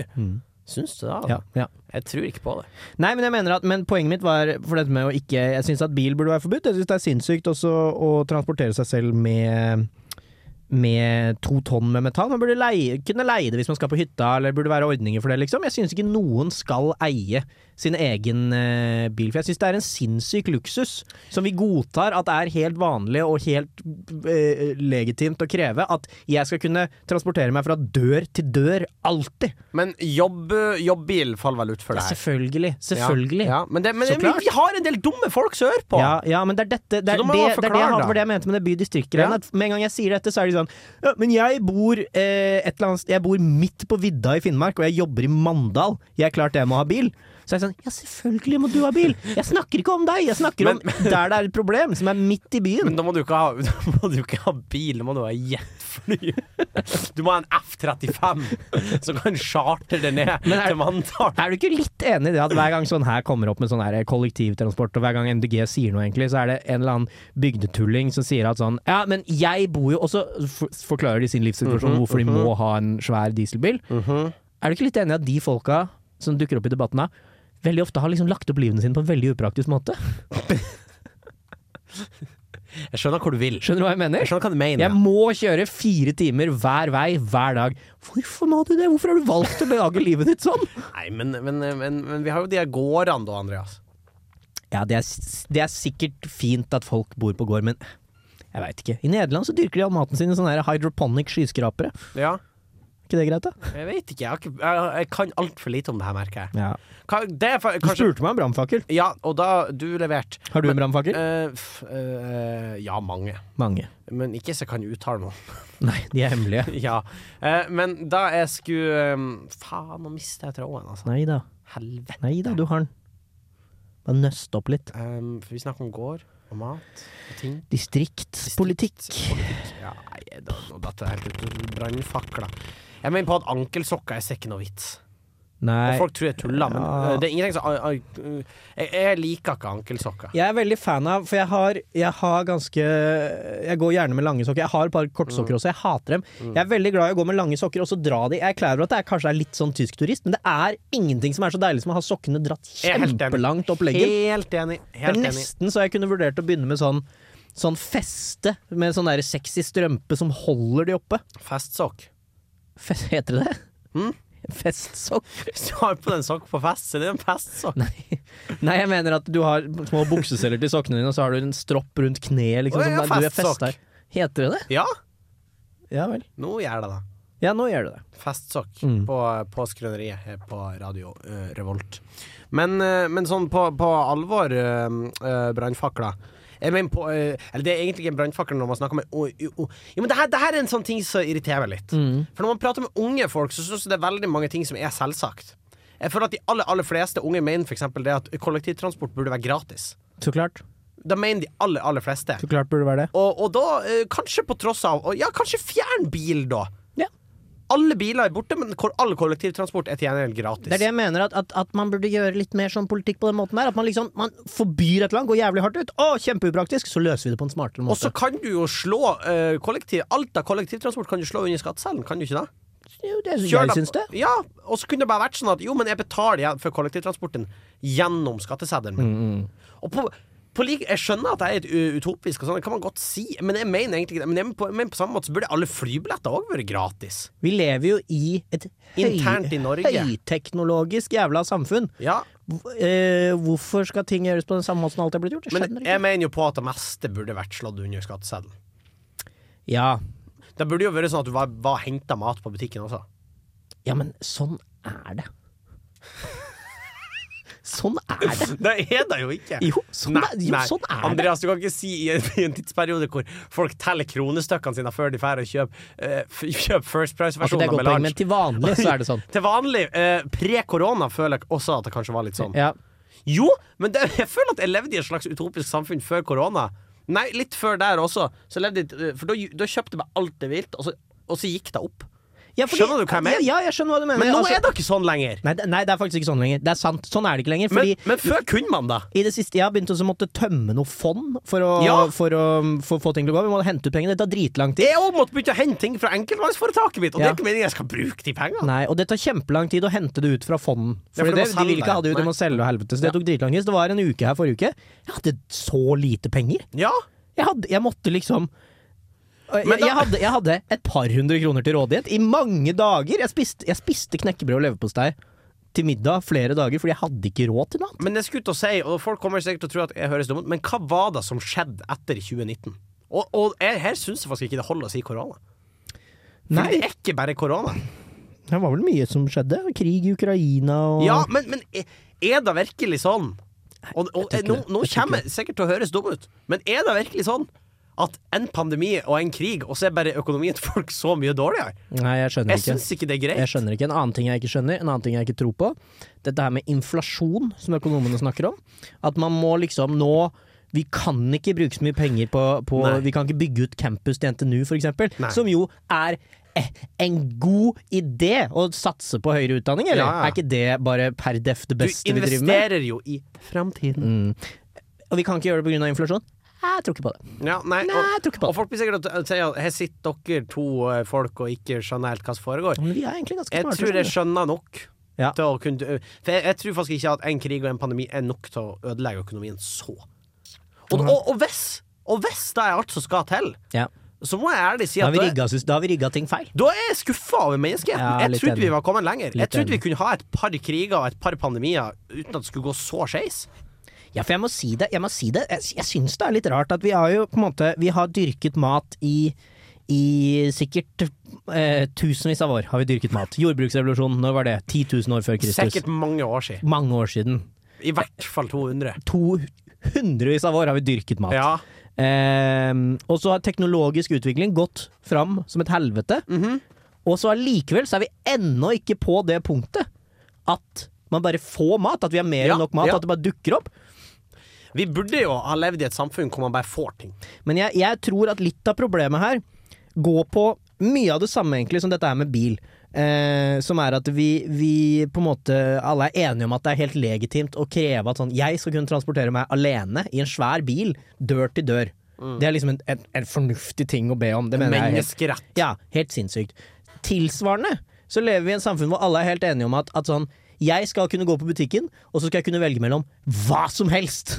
B: Syns du det? da?
A: Mm. ja, ja.
B: Jeg tror ikke på det.
A: Nei, men jeg mener at Men poenget mitt var for dette med å ikke Jeg syns at bil burde være forbudt. Jeg syns det er sinnssykt også å transportere seg selv med med to tonn med metan. Man burde leie, kunne leie det hvis man skal på hytta, eller burde være ordninger for det, liksom. Jeg syns ikke noen skal eie sin egen eh, bil, for jeg syns det er en sinnssyk luksus som vi godtar at er helt vanlig og helt eh, legitimt å kreve. At jeg skal kunne transportere meg fra dør til dør, alltid.
B: Men jobb, jobbbil faller vel ut for det her.
A: Selvfølgelig.
B: Ja,
A: Selvfølgelig.
B: Ja, men det, men
A: Så
B: vi-
A: klart.
B: vi har en del dumme folk sørpå!
A: Ja, ja, men det er dette Det
B: Så
A: er
B: da
A: det,
B: må
A: det,
B: man
A: er det, jeg
B: forklare,
A: hadde-
B: da.
A: var det jeg mente med det bydistriktgreiene.
B: Ja.
A: at Med en gang jeg sier dette, så er de sånn ja, Men jeg bor eh, et eller annet sted Jeg bor midt på vidda i Finnmark, og jeg jobber i Mandal. Jeg er klart jeg må ha bil. Så er jeg sånn Ja, selvfølgelig må du ha bil! Jeg snakker ikke om deg! Jeg snakker om der det er et problem, som er midt i
B: Men
A: byen.
B: <laughs> da må du ikke ha, da må du ikke ha bil, da må du ha jetfly. Du må ha en F-35 <laughs> som kan chartre det ned til Mandal.
A: Er du ikke litt enig i det at hver gang sånn her kommer opp med sånn her kollektivtransport, og hver gang MDG sier noe, egentlig, så er det en eller annen bygdetulling som sier at sånn Ja, men jeg bor jo Og så for- forklarer de sin livssituasjon,
B: Mhm,
A: hvorfor de må ha en svær dieselbil. Er du ikke litt enig i at de folka som dukker opp i debatten da, veldig ofte har liksom lagt opp livene sine på en veldig upraktisk måte?
B: Jeg skjønner hvor du vil.
A: Skjønner du hva jeg mener?
B: Jeg skjønner hva du
A: Jeg
B: mener.
A: må kjøre fire timer hver vei, hver dag. Hvorfor må du det? Hvorfor har du valgt å belage livet ditt sånn?
B: Nei, men, men, men, men vi har jo de her gårdene da, Andreas.
A: Ja, det er, s- det er sikkert fint at folk bor på gård, men jeg veit ikke. I Nederland så dyrker de all maten sin i sånne her hydroponic skyskrapere.
B: Ja.
A: Er ikke det greit, da?
B: Jeg vet ikke, jeg, har ikke, jeg, jeg kan altfor lite om det her, merker jeg.
A: Ja.
B: Ka- Det er fa-
A: Du
B: kanskje
A: spurte meg om brannfakkel.
B: Ja, og da du leverte.
A: Har du en brannfakkel?
B: Eh, f- eh, ja, mange.
A: Mange.
B: Men ikke så jeg kan uttale noe. <laughs>
A: Nei, de er hemmelige.
B: ja. Eh, men da jeg skulle eh, Faen, nå mista jeg tråden, altså.
A: Nei da.
B: Helvete.
A: Nei da, du har den. Bare nøst opp litt.
B: Eh, for vi snakker om gård og mat og ting.
A: Distriktspolitikk.
B: Ja, nei, da, nå datt det helt ut. Brannfakler. Jeg mener på at ankelsokker er ikke noe vits. Og
A: Nei.
B: folk tror jeg tuller, men
A: Ja.
B: eh, det er ingenting som ah, ah, jeg, jeg liker ikke ankelsokker.
A: Jeg er veldig fan av, for jeg har, jeg har ganske Jeg går gjerne med lange sokker. Jeg har et par kortsokker
B: Mm.
A: også, jeg hater dem. Jeg er veldig glad i å gå med lange sokker og så dra de. Jeg er klar over at det er, kanskje er litt sånn tysk turist, men det er ingenting som er så deilig som å ha sokkene dratt
B: Jeg er helt enig.
A: kjempelangt opp leggen.
B: Helt enig.
A: Det er
B: Helt enig.
A: nesten så jeg kunne vurdert å begynne med sånn Sånn feste med sånn der sexy strømpe som holder de oppe.
B: Festsokk.
A: Fest, heter det det?
B: Mm.
A: Festsokk?
B: Hvis <laughs> du har på deg en sokk på fest, så er det en festsokk.
A: <laughs> Nei. Nei, jeg mener at du har små bukseseller til sokkene dine, og så har du en stropp rundt kneet. Liksom,
B: Å, ja,
A: som du er
B: festsokk.
A: festet i. Heter det det?
B: Ja,
A: Ja vel.
B: nå gjør det det.
A: Ja, nå gjør du det.
B: Festsokk
A: Mm.
B: på, på skrøneriet her på Radio eh, Revolt. Men, eh, men sånn på, på alvor, uh, brannfakler jeg mener på, eh, eller Det er egentlig ikke en brannfakkel når man snakker med oh, oh, oh. Jo, men det her, det her er en sånn ting som irriterer meg litt. For når man prater med unge folk, så syns jeg det er veldig mange ting som er selvsagt. Jeg føler at de aller, aller fleste unge mener for eksempel det at kollektivtransport burde være gratis.
A: Så klart.
B: Da mener de aller, aller fleste.
A: Så klart burde det være det.
B: Og, og da, eh, kanskje på tross av og, Ja, kanskje fjern bil, da.
A: Ja.
B: Alle biler er borte, men kor- all kollektivtransport er til gjengjeld gratis.
A: Det er det jeg mener, at, at, at man burde gjøre litt mer sånn politikk på den måten der. At man liksom man forbyr et eller annet, går jævlig hardt ut. Å, kjempeupraktisk! Så løser vi det på en smartere
B: og så
A: måte.
B: kan du jo slå eh, kollektiv Alt av kollektivtransport kan du slå under skattecellen, kan du ikke det?
A: Jo, det er så
B: Kjør da-
A: jeg syns det.
B: Ja, og så kunne det bare vært sånn at jo, men jeg betaler igjen for kollektivtransporten gjennom skatteseddelen min.
A: Mm,
B: Og på, på like, jeg skjønner at det er et u- utopisk, og sånn, det kan man godt si, men jeg mener egentlig ikke det. Men, jeg, på, men på samme måte så burde alle flybilletter òg være gratis.
A: Vi lever jo i et høy,
B: Internt i Norge.
A: høyteknologisk jævla samfunn.
B: Ja,
A: Hvor- eh, hvorfor skal ting gjøres på den samme måten som alltid er blitt gjort? Jeg
B: Men
A: skjønner ikke.
B: jeg mener jo på at det meste burde vært slått under skatteseddelen.
A: Ja.
B: Det burde jo vært sånn at du var, var henta mat på butikken også. <laughs>
A: ja, men sånn er det. Sånn er det.
B: Det er det jo ikke!
A: Jo, sånn, er, jo, sånn er det.
B: Andreas, du kan ikke si i en, i en tidsperiode hvor folk teller kronestykkene sine før de drar og kjøper eh, f- kjøper
A: Ok, Altså, det
B: First Price-versjonen
A: er
B: av
A: godt poeng,
B: Melange.
A: men til vanlig så er det sånn.
B: Til vanlig, eh, pre-korona, føler jeg også at det kanskje var litt sånn.
A: Ja.
B: Jo, men det, jeg føler at jeg levde i et slags utopisk samfunn før korona. Nei, litt før der også. Så levde jeg, eh, for da, da kjøpte jeg meg alt det vilt, og så, og så gikk det opp.
A: Ja,
B: Skjønner du hva jeg mener?
A: Ja, jeg skjønner hva du mener.
B: Men nå
A: Altså-
B: er det ikke sånn lenger.
A: Nei, det- nei, det er faktisk ikke sånn lenger. Det er sant. Sånn er det ikke lenger. Fordi
B: Men, men før kunne man da.
A: i det siste jeg har begynt å så måtte tømme noe fond for å,
B: Ja.
A: for å for å få ting til å gå. Vi må hente ut pengene. Det tar dritlang tid.
B: Jeg òg måtte begynne å hente ting fra enkeltmannsforetaket mitt, og det
A: Ja.
B: er ikke meningen jeg skal bruke de pengene.
A: Nei, og det tar kjempelang tid å hente det ut fra fond.
B: Ja,
A: Fordi
B: for du må
A: det, de
B: selge
A: vil
B: det.
A: ikke ha det ut, de
B: Nei.
A: må selge og helvete. Så det tok dritlang tid. Så det var en uke her forrige uke. Jeg hadde så lite penger.
B: Ja,
A: Jeg, hadde, jeg måtte liksom Og Jeg, jeg, hadde, jeg hadde et par hundre kroner til rådighet i mange dager. Jeg spiste, jeg spiste knekkebrød og leverpostei til middag flere dager fordi jeg hadde ikke råd til noe annet.
B: Men jeg skulle til å si, og folk kommer sikkert til å tro at jeg høres dum ut, men hva var det som skjedde etter 2019? Og, og jeg, her syns jeg faktisk ikke det holder å si korona. For
A: Nei,
B: det er ikke bare korona.
A: det var vel mye som skjedde. Krig i Ukraina og
B: Ja, men, men er- er det virkelig sånn? Og, og
A: jeg tror ikke
B: nå,
A: det.
B: nå
A: Jeg tror ikke
B: kommer jeg sikkert til å høres dum ut, men er det virkelig sånn at en pandemi og en krig, og så er bare økonomien til folk så mye dårligere?
A: Nei, jeg skjønner
B: Jeg
A: ikke.
B: syns ikke det er
A: Jeg
B: greit.
A: skjønner ikke. En annen ting jeg ikke skjønner, en annen ting jeg ikke tror på, dette her med inflasjon, som økonomene snakker om. At man må liksom nå Vi kan ikke bruke så mye penger på, på
B: Nei.
A: Vi kan ikke bygge ut campus til NTNU, f.eks.,
B: Nei.
A: som jo er eh, en god idé å satse på høyere utdanning, eller?
B: Ja, ja.
A: Er ikke det bare per def det
B: Du
A: beste vi driver med? Mm.
B: investerer jo i framtiden.
A: Og vi kan ikke gjøre det pga. inflasjon? Jeg tror ikke på det.
B: Ja, nei,
A: Nei, jeg
B: og,
A: tror ikke på
B: og
A: det.
B: folk blir sikkert til å si at her sitter dere to eh, folk og ikke skjønner helt hva som foregår.
A: Men vi er egentlig ganske smarte.
B: Jeg Mm.
A: altså.
B: tror
A: skjønner
B: jeg skjønner nok.
A: Ja.
B: Til å kunne, for jeg, jeg tror faktisk ikke at en krig og en pandemi er nok til å ødelegge økonomien så. Og, og, og, hvis, og hvis det er alt som skal til,
A: du. ja.
B: så må jeg ærlig si
A: da, har
B: at
A: vi
B: da,
A: rigga, sys- da har vi rigga ting feil.
B: da er jeg skuffa over menneskeheten.
A: Ja,
B: jeg
A: litt
B: trodde vi
A: enig.
B: var kommet lenger.
A: Litt
B: Jeg trodde vi
A: enig.
B: kunne ha et par kriger og et par pandemier uten at det skulle gå så skeis.
A: Ja, for jeg må si det. Jeg, må si det. jeg, jeg syns det er litt rart at vi har jo på en måte Vi har dyrket mat i i sikkert eh, tusenvis av år har vi dyrket mat. Jordbruksrevolusjonen, når var det? 10 000 år før Kristus.
B: Sikkert mange år siden.
A: Mange år siden.
B: I hvert fall 200.
A: To hundrevis av år har vi dyrket mat.
B: Ja.
A: Eh, og så har teknologisk utvikling gått fram som et helvete.
B: Mhm.
A: Og så allikevel så er vi ennå ikke på det punktet at man bare får mat. At vi har mer
B: Ja,
A: enn nok mat,
B: ja.
A: at det bare dukker opp.
B: Vi burde jo ha levd i et samfunn hvor man bare får ting.
A: Men jeg, jeg tror at litt av problemet her går på mye av det samme egentlig som dette er med bil. Eh, som er at vi, vi på en måte alle er enige om at det er helt legitimt å kreve at sånn jeg skal kunne transportere meg alene i en svær bil, dør til dør. Det er liksom en, en, en fornuftig ting å be om. Det mener jeg er helt
B: Menneskerett.
A: ja, helt sinnssykt. Tilsvarende så lever vi i en samfunn hvor alle er helt enige om at, at sånn Jeg skal kunne gå på butikken, og så skal jeg kunne velge mellom hva som helst!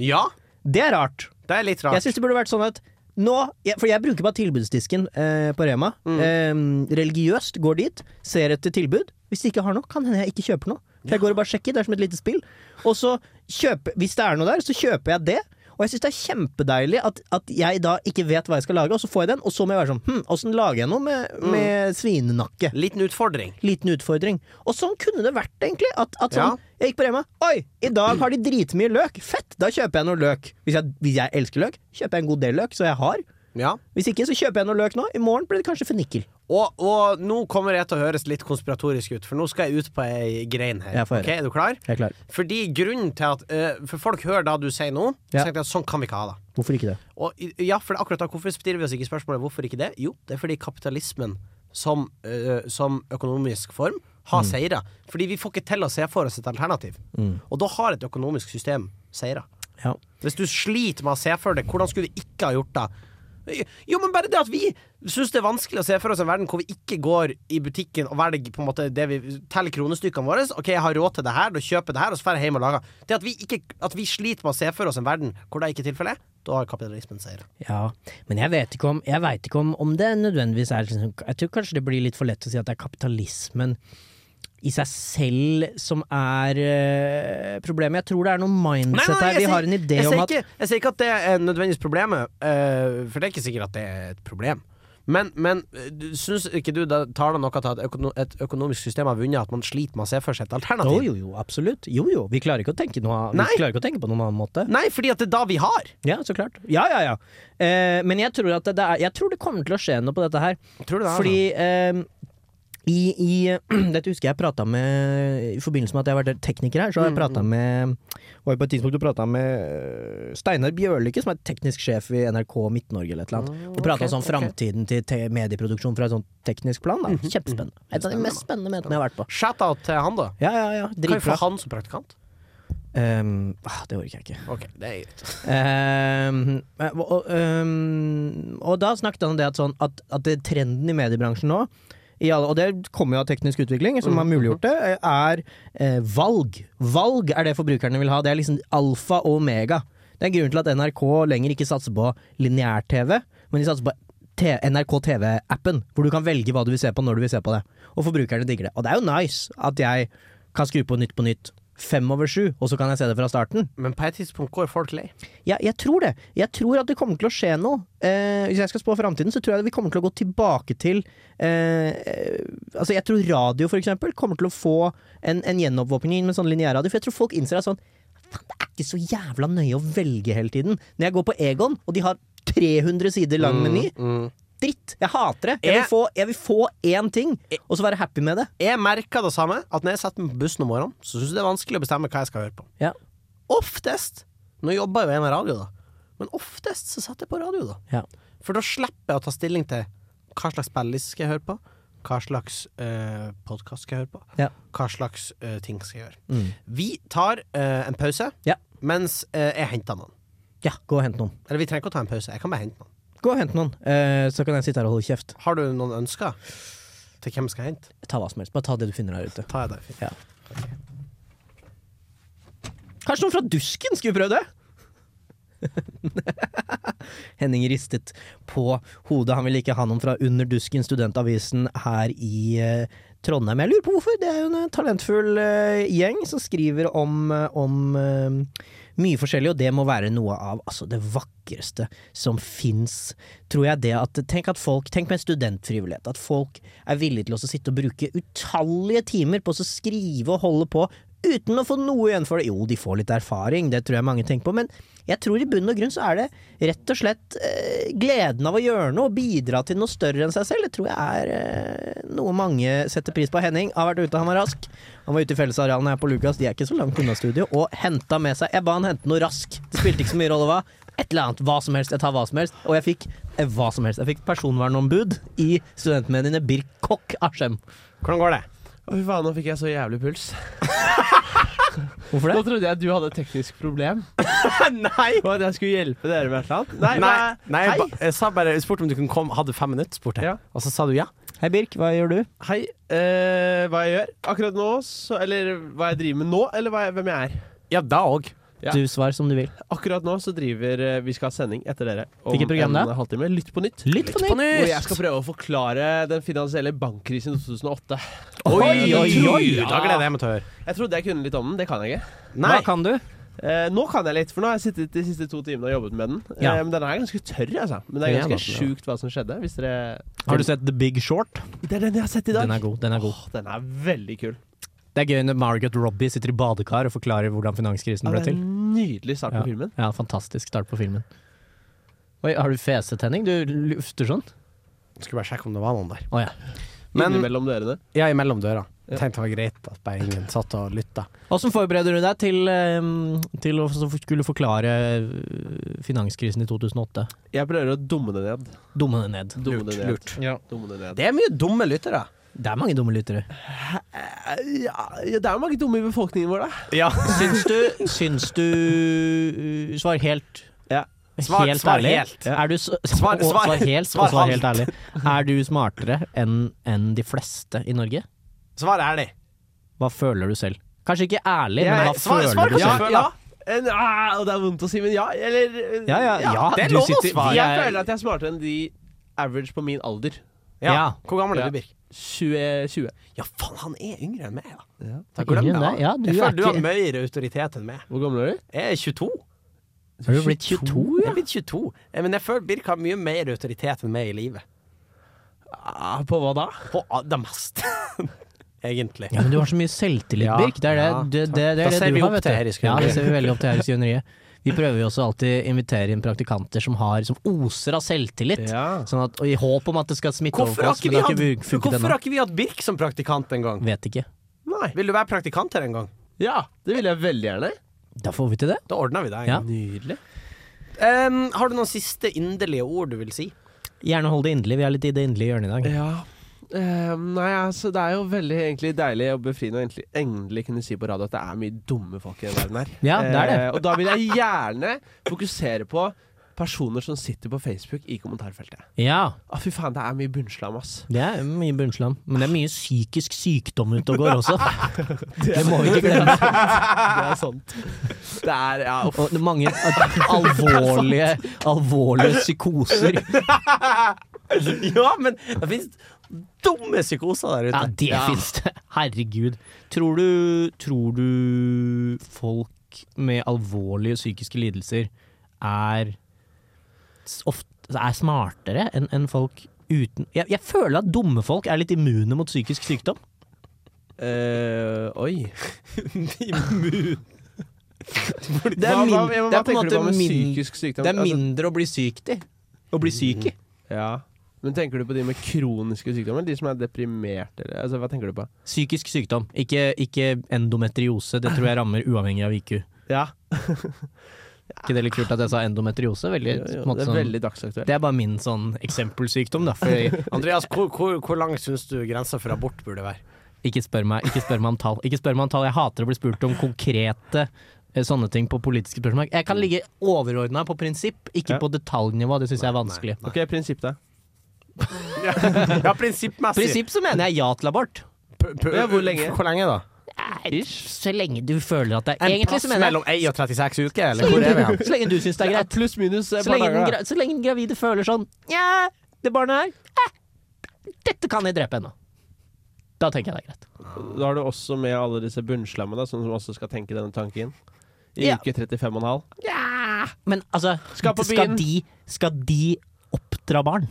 B: Ja,
A: Det er rart.
B: det er litt
A: Jeg
B: rart.
A: syns det burde vært sånn at nå jeg, For jeg bruker bare tilbudsdisken eh, på Rema.
B: Mm.
A: Eh, religiøst går dit, ser etter tilbud. Hvis de ikke har noe, kan hende jeg ikke kjøper noe. For jeg går og bare sjekker, det er som et lite spill. Og så kjøper Hvis det er noe der, så kjøper jeg det. Og jeg syns det er kjempedeilig at, at jeg da ikke vet hva jeg skal lage, og så får jeg den, og så må jeg være sånn Hm, åssen lager jeg noe med,
B: Mm.
A: med svinenakke?
B: Liten utfordring.
A: Liten utfordring. Og sånn kunne det vært, egentlig. At, at
B: Ja.
A: sånn, Jeg gikk på Rema. Oi, i dag har de dritmye løk! Fett! Da kjøper jeg noe løk. Hvis jeg, hvis jeg elsker løk, kjøper jeg en god del løk, så jeg har.
B: Ja.
A: Hvis ikke, så kjøper jeg noe løk nå. I morgen blir det kanskje fennikel.
B: Og, og nå kommer jeg til å høres litt konspiratorisk ut, for nå skal jeg ut på ei grein her.
A: Ja, få høre.
B: Ok, er du klar?
A: Jeg er klar.
B: Fordi grunnen til at eh, For folk hører det du sier nå,
A: Ja.
B: så tenker jeg at sånn kan vi ikke ha det.
A: Hvorfor ikke det?
B: Og, i- ja, for det er akkurat da, Hvorfor stiller vi oss ikke spørsmålet hvorfor ikke det? Jo, det er fordi kapitalismen som, eh, som økonomisk form
A: Mm.
B: har seira. Fordi vi får ikke til å se for oss et alternativ. Og da har et økonomisk system seira.
A: Ja.
B: Hvis du sliter med å se for deg, hvordan skulle vi ikke ha gjort det? Jo, men bare det at vi syns det er vanskelig å se for oss en verden hvor vi ikke går i butikken og velger på en måte det vi teller kronestykkene våre. OK, jeg har råd til det her, da kjøper jeg det her, og så drar jeg hjem og lager. Det at vi, ikke, at vi sliter med å se for oss en verden hvor det ikke er tilfellet, da har kapitalismen seira.
A: ja. Men jeg vet ikke om, jeg vet ikke om, om det nødvendigvis er liksom- Jeg tror kanskje det blir litt for lett å si at det er kapitalismen i seg selv som er eh, problemet. Jeg tror det er noe mindset her. Vi har en idé
B: jeg,
A: om
B: sier
A: at
B: ikke, jeg sier ikke at det er nødvendigvis problemet, eh, for det er ikke sikkert at det er et problem. Men, men eh, du- syns ikke du det tar det noe til at økono, et økonomisk system har vunnet at man sliter med å se for seg et alternativ?
A: Jo, jo, jo, absolutt. Jo, jo. Vi klarer ikke å tenke, noe, vi
B: Nei.
A: klarer ikke å tenke på noen annen måte.
B: Nei, fordi at det er da vi har.
A: Ja, så klart. Ja, ja, ja. Eh, men jeg tror, at det, det er, jeg tror det kommer til å skje noe på dette her.
B: Tror du det altså. er
A: Fordi eh, i, i <clears throat> Dette husker jeg prata med I forbindelse med at jeg har vært tekniker her, så
B: Mm.
A: har jeg prata med Var jo på et tidspunkt du prata med eh, Steinar Bjørlykke, som er teknisk sjef i NRK Midt-Norge eller et eller annet. Og prata
B: Mm, ok, Mm-hmm,
A: sånn framtiden til te medieproduksjon fra et sånt teknisk plan. Da. Kjempespennende. Et av de mest spennende møtene jeg har vært på.
B: Shout-out til han, da.
A: Ja, ja, ja.
B: Kan vi få
A: Dritbra.
B: han som praktikant?
A: Ehm, ah, det orker jeg ikke.
B: Ok, det er greit.
A: Ehm, og, ehm, og da snakket han om det at, sånn, at, at det trenden i mediebransjen nå i alle, og det kommer jo av teknisk utvikling, som har muliggjort det, er eh, valg. Valg er det forbrukerne vil ha. Det er liksom alfa og omega. Det er grunnen til at NRK lenger ikke satser på lineær-TV, men de satser på T- NRK TV-appen, hvor du kan velge hva du vil se på når du vil se på det. Og forbrukerne digger det. Og det er jo nice at jeg kan skru på Nytt på Nytt fem over sju, og så kan jeg se det fra starten.
B: Men på et tidspunkt går folk lei.
A: Jeg, jeg tror det. Jeg tror at det kommer til å skje noe. Eh, hvis jeg skal spå framtiden, så tror jeg vi kommer til å gå tilbake til eh, eh, Altså, jeg tror radio, for eksempel, kommer til å få en, en gjenoppvåkning med sånn lineærradio, for jeg tror folk innser at sånn Faen, det er ikke så jævla nøye å velge hele tiden. Når jeg går på Egon, og de har 300 sider lang meny, dritt! Jeg hater det! Jeg vil,
B: Jeg-
A: få, jeg vil få én ting, og så være happy med det.
B: Jeg merker det samme, at når jeg setter meg på bussen om morgenen, så syns jeg det er vanskelig å bestemme hva jeg skal høre på.
A: Ja.
B: Oftest Nå jobber jeg jo jeg med radio, da, men oftest så setter jeg på radio, da.
A: Ja.
B: For da slipper jeg å ta stilling til hva slags spilleliste skal jeg høre på, hva slags uh, podkast skal jeg høre på,
A: Ja.
B: hva slags eh, ting skal jeg gjøre.
A: Mm.
B: Vi tar eh, en pause
A: Ja.
B: mens eh, jeg henter noen.
A: ja, gå og hent noen.
B: Eller vi trenger ikke å ta en pause, jeg kan bare hente noen.
A: Gå og hent noen, eh, så kan jeg sitte her og holde kjeft.
B: Har du noen ønsker til hvem skal jeg hente?
A: Ta hva som helst. Bare ta det du finner her ute.
B: Tar jeg deg.
A: Kanskje noen fra Dusken skulle prøvd det? <laughs> Henning ristet på hodet. Han ville ikke ha noen fra Under Dusken, studentavisen her i eh, Trondheim. Jeg lurer på hvorfor. Det er jo en eh, talentfull eh, gjeng som skriver om, eh, om eh, mye forskjellig, og det må være noe av altså, det vakreste som fins. Tror jeg det at Tenk at folk, tenk med studentfrivillighet. At folk er villige til å sitte og bruke utallige timer på å skrive og holde på uten å få noe igjen for det. Jo, de får litt erfaring, det tror jeg mange tenker på, men jeg tror i bunn og grunn så er det rett og slett eh, gleden av å gjøre noe og bidra til noe større enn seg selv. Det tror jeg er eh, noe mange setter pris på. Henning har vært ute, han var rask. Han var ute i fellesarealene her på Lukas, de er ikke så langt unna studio, og henta med seg Jeg ba han hente noe rask. Det spilte ikke så mye rolle hva. Et eller annet. Hva som helst. Jeg tar hva som helst. Og jeg fikk eh, hva som helst. Jeg fikk personvernombud i studentmediene Birk Kokk Askim.
B: Hvordan går det?
H: Å, Fy faen, nå fikk jeg så jævlig
B: <laughs>
H: puls.
A: Hvorfor det?
H: Nå trodde jeg du hadde et teknisk problem. nei! Og at jeg skulle hjelpe dere med et eller annet.
B: Nei,
H: men-
B: nei,
H: hei.
B: jeg, ba, jeg sa bare Jeg spurte om du kunne komme Hadde du fem minutter, spurte jeg
H: Ja.
B: Og så sa du ja
A: Hei, Birk. Hva gjør du?
H: Hei, eh, hva jeg gjør akkurat nå, så, eller hva jeg driver med nå, eller hva jeg, hvem jeg er.
B: Ja, da også
H: Ja.
A: Du svar som du vil.
H: Akkurat nå så driver eh, Vi skal ha sending etter dere om
A: Hvilket program
H: en
A: det er?
H: halvtime. Lytt på nytt.
A: Lytt på nytt!
H: Hvor jeg skal prøve å forklare den finansielle bankkrisen i 2008.
A: Oi, oi, oi!
B: Da gleder jeg meg til å høre
H: Jeg trodde jeg kunne litt om den, det kan jeg ikke.
B: Nei
A: Hva kan du?
H: Eh, nå kan jeg litt, for nå har jeg sittet de siste to timene og jobbet med den.
A: Ja.
H: Eh, men den er ganske tørr, altså. Men det er
B: Ja,
H: ganske
B: da, ja.
H: sjukt hva som skjedde. Hvis dere
A: Har du sett The Big Short?
H: Det er den jeg har sett i dag.
A: Den er god. den er god
H: Åh, den er veldig kul.
A: Det er gøy når Margaret Robbie sitter i badekar og forklarer hvordan finanskrisen
H: Ja,
A: ble
H: det er
A: til.
H: en nydelig start på filmen.
A: Ja, Fantastisk start på filmen. Oi, Har du feset, Henning? Du lufter sånn?
B: Skulle bare sjekke om det var noen der
A: Å ja.
B: Men-
H: Innimellom dørene.
B: Ja, i mellom døra
H: Ja.
B: Jeg tenkte det var greit At bare ingen satt og lyttet
A: Åssen forbereder du deg til, eh, til å så skulle forklare eh, finanskrisen i 2008?
H: Jeg prøver å dumme det ned.
A: Dumme det ned.
H: Dumme det ned.
B: lurt.
H: Ja. Dumme det ned.
B: Det er mye dumme lyttere
A: Det er mange dumme lyttere.
H: Eh, Ja, ja, det er jo mange dumme i befolkningen vår, da.
B: Ja
A: Syns du Syns du uh, Svar helt.
H: Ja.
B: Svar-
A: helt
B: svar
A: ærlig.
B: helt.
A: Er du, s-
B: Svar-
A: og, svar
B: svar-
A: helt
B: svar
A: og svar helt ærlig.
B: halvt.
A: Er du smartere enn enn de fleste i Norge?
B: Svar ærlig
A: Hva føler du selv? Kanskje ikke ærlig,
H: Jeg-
A: men hva
B: svar-
A: føler
B: svar
A: du
B: på
H: Ja,
A: selv?
B: selv. føler
H: ja.
B: da.
H: En, ah, og det er vondt å si, men ja. Eller eh,
A: Ja, ja, ja,
B: det er
A: du
B: lov å
A: sitter- vi
B: svare.
A: er-
H: Jeg føler at jeg er smartere enn de average på min alder.
A: Ja.
B: Hvor gammel er du,
H: Ja.
B: Birk?
H: 20, 20.
B: Ja, faen, han er yngre enn meg da
A: Det er
B: Glem
A: ingen
B: det.
A: det. Ja, du
B: Jeg
A: er
B: føler du har
A: ikke
B: mer autoritet enn meg
H: Hvor gammel er du?
B: Jeg er 22
A: Har du blitt 22?
B: Jeg er blitt 22 Eh, Men jeg føler Birk har mye mer autoritet enn meg i livet
H: Ah, på hva da?
B: På a- det meste <laughs> Egentlig
A: Ja, men du har så mye selvtillit,
B: Ja,
A: Birk. Det er det,
B: ja,
A: det, det, det,
B: Da
A: er
B: ser
A: det
B: vi
A: du har,
B: opp
A: vet
B: til
A: du.
B: her i
A: ja,
B: Skøyeneriet.
A: det ser vi veldig opp til her i Skøyeneriet. Vi prøver jo også alltid å invitere inn praktikanter som, har, som oser av selvtillit.
H: Ja.
A: Sånn at, og I håp om at det skal smitte
B: Hvorfor
A: over på
B: har
A: oss,
B: ikke
A: men
B: vi
A: det har ikke
B: hatt,
A: funket
B: hvorfor
A: ennå.
B: har ikke vi hatt Birk som praktikant en gang?
A: Vet ikke.
H: Nei.
B: Vil du være praktikant her en gang?
H: Ja, det vil jeg veldig gjerne.
A: Da får vi til det.
B: Da ordner vi det en
A: Ja.
B: gang.
H: Nydelig.
B: Em, har du noen siste inderlige ord du vil
H: <laughs>
B: si?
A: Gjerne hold det inderlig. Vi er litt i det inderlige hjørnet i dag.
H: Ja. Eh, nei, altså, det er jo veldig egentlig deilig og befriende å egentlig, endelig kunne si på radio at det er mye dumme folk i den verden her.
A: Ja, det er det.
H: Eh, og da vil jeg gjerne fokusere på personer som sitter på Facebook i kommentarfeltet.
B: Eh.
A: Ja,
H: Ah, fy faen, det er mye bunnslam, ass.
A: det er mye bunnslam. Men det er mye psykisk sykdom ute og går også.
H: <laughs>
A: Det må vi ikke glemme.
H: Det er sant. Det er ja, uff.
A: Og det er mange alvorlige, alvorlige psykoser.
B: Ja, men det finnes dumme psykoser der ute.
A: Ja, det finnes det. Herregud. Tror du, tror du folk med alvorlige psykiske lidelser er, s- ofte, er smartere enn enn folk uten jeg, jeg føler at dumme folk er litt immune mot psykisk sykdom.
H: Eh, oi.
A: Det er, min,
H: hva, hva, hva
A: det er på en
H: tenker du
A: måte
H: på med
A: min,
H: psykisk sykdom?
A: det er
H: Altså,
A: mindre å bli syk i. Å bli syk i.
H: Ja. Men tenker du på de med kroniske sykdommer, eller de som er deprimerte? eller- Altså, hva tenker du på?
A: Psykisk sykdom, ikke, ikke endometriose. Det tror jeg rammer uavhengig av IQ.
H: Ja,
A: Ikke det litt kult at jeg sa endometriose? Veldig,
H: jo, jo,
A: på en måte
H: det er
A: sånn-
H: veldig dagsaktuelt.
A: Det er bare min sånn eksempelsykdom, da. For jeg,
B: Andreas, hvor, hvor, hvor lang syns du grensa for abort burde være?
A: ikke, spør meg, ikke spør meg om tall. Ikke spør meg om tall. Jeg hater å bli spurt om konkrete eh, sånne ting på politiske spørsmål. Jeg kan ligge overordna på prinsipp, ikke
H: Ja.
A: på detaljnivå. Det syns jeg er vanskelig.
H: Ok, prinsipp, da.
B: <laughs> Ja, prinsippmessig.
A: Prinsipp så mener jeg ja til abort.
H: Ja, hvor lenge?
B: Hvor lenge da?
A: Nei, Så lenge du føler at det er
B: En
A: Egentlig
B: pass
A: så mener jeg
B: mellom 1 og 36 uker,
A: så
B: eller hvor er vi
A: lenge,
H: <laughs>
B: hen?
A: så lenge du syns det er greit.
H: Pluss minus et
A: Så
H: par
A: lenge, den,
H: dager. da.
A: gra- så lenge den gravide føler sånn Nja, det barnet her eh, Dette kan jeg drepe ennå. Da tenker jeg det er greit.
H: Da har du også med alle disse bunnslammene, da, sånn som også skal tenke denne tanken. I
A: Ja.
H: uke 35,5.
A: Ja. Men altså,
H: Skal på
A: skal
H: byen.
A: de, skal de oppdra barn?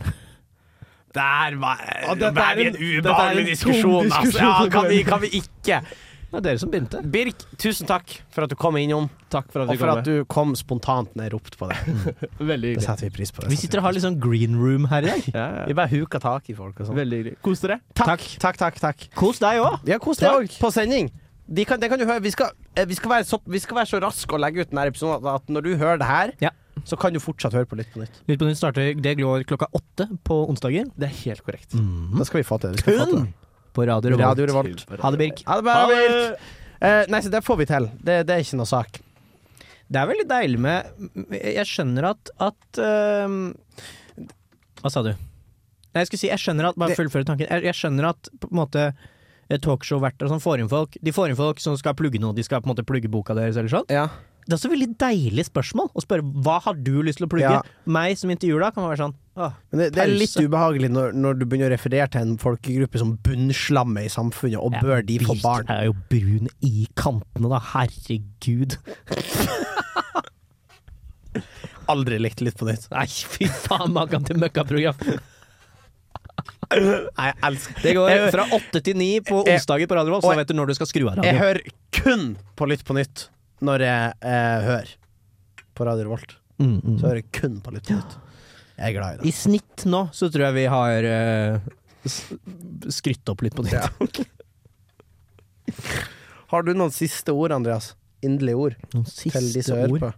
B: Der var
H: Ja,
B: det
H: dette er
B: er en
H: en-
B: ubehagelig
H: dette er en tom
B: diskusjon, altså. Ja,
H: diskusjon.
B: kan vi, kan vi ikke?
A: Det var dere som begynte.
B: Birk, tusen takk for at du kom innom,
H: Takk for at
B: og
H: vi
B: for
H: kom.
B: at du kom spontant når jeg ropte på deg.
H: med. <laughs> Veldig
B: Det
H: hyggelig.
B: setter vi pris på. altså. det
A: Vi
B: setter
A: sitter og har litt sånn green room her i dag.
H: Ja,
B: vi
H: ja.
B: bare huker tak i folk og sånn.
H: Veldig hyggelig. Kos dere.
B: Takk, takk, takk. takk.
A: Kos deg òg.
B: Ja, kos deg òg. På sending. De kan, det kan du høre. Vi skal, eh, vi, skal være så, vi skal være så raske og legge ut denne episoden at, at når du hører det her,
A: Ja.
B: så kan du fortsatt høre på Lytt på nytt.
A: Litt på nytt starter det går klokka åtte på onsdager.
H: Det er helt korrekt.
B: Mm. Da skal vi få til det. Vi skal få til
A: Kun
B: det.
A: på Radio Revolt.
B: Radio Revolt.
A: Ha det, Birk.
B: Ha det bra, Vilt. Eh, nei, så det får vi til. Det, det er ikke noe sak.
A: Det er veldig deilig med Jeg skjønner at, at øhm, Hva sa du? Nei, jeg skulle si jeg skjønner at Bare
B: Det-
A: fullføre tanken. Jeg, jeg skjønner at på en måte eh, talkshow-verter og sånn får inn folk. De får inn folk som skal plugge noe. De skal på en måte plugge boka deres eller sånn.
B: Ja.
A: Det er også veldig deilig spørsmål å spørre hva har du lyst til å plugge.
B: Ja.
A: Meg som intervjuer da kan være sånn åh,
B: Men det, det er
A: Pause.
B: litt ubehagelig når, når du begynner å referere til en folkegruppe som bunnslammer i samfunnet, og
A: Ja,
B: bør de få
A: Birk
B: barn?
A: er jo brun i kantene, da. Herregud.
B: Aldri likt Lytt på nytt.
A: Nei, fy faen, maken til møkkaprogram.
B: Nei, jeg elsker
A: Det går
B: Jeg-
A: fra åtte til ni på
B: Jeg-
A: onsdager på Radio Revolt,
B: Og
A: så
B: jeg-
A: da vet du når du skal skru av
B: Jeg
A: radioen.
B: hører kun på Lytt på nytt når jeg eh, hører på Radio Revolt.
A: Mm, mm.
B: Så hører jeg kun på Lytt på nytt. Jeg er glad i
A: I
B: det.
A: snitt nå så tror jeg vi har eh, s- skrytt opp litt på nytt.
B: Har du noen siste ord, Andreas? Inderlige ord
A: Noen
B: til de
A: siste
B: som hører
A: ord.
B: på?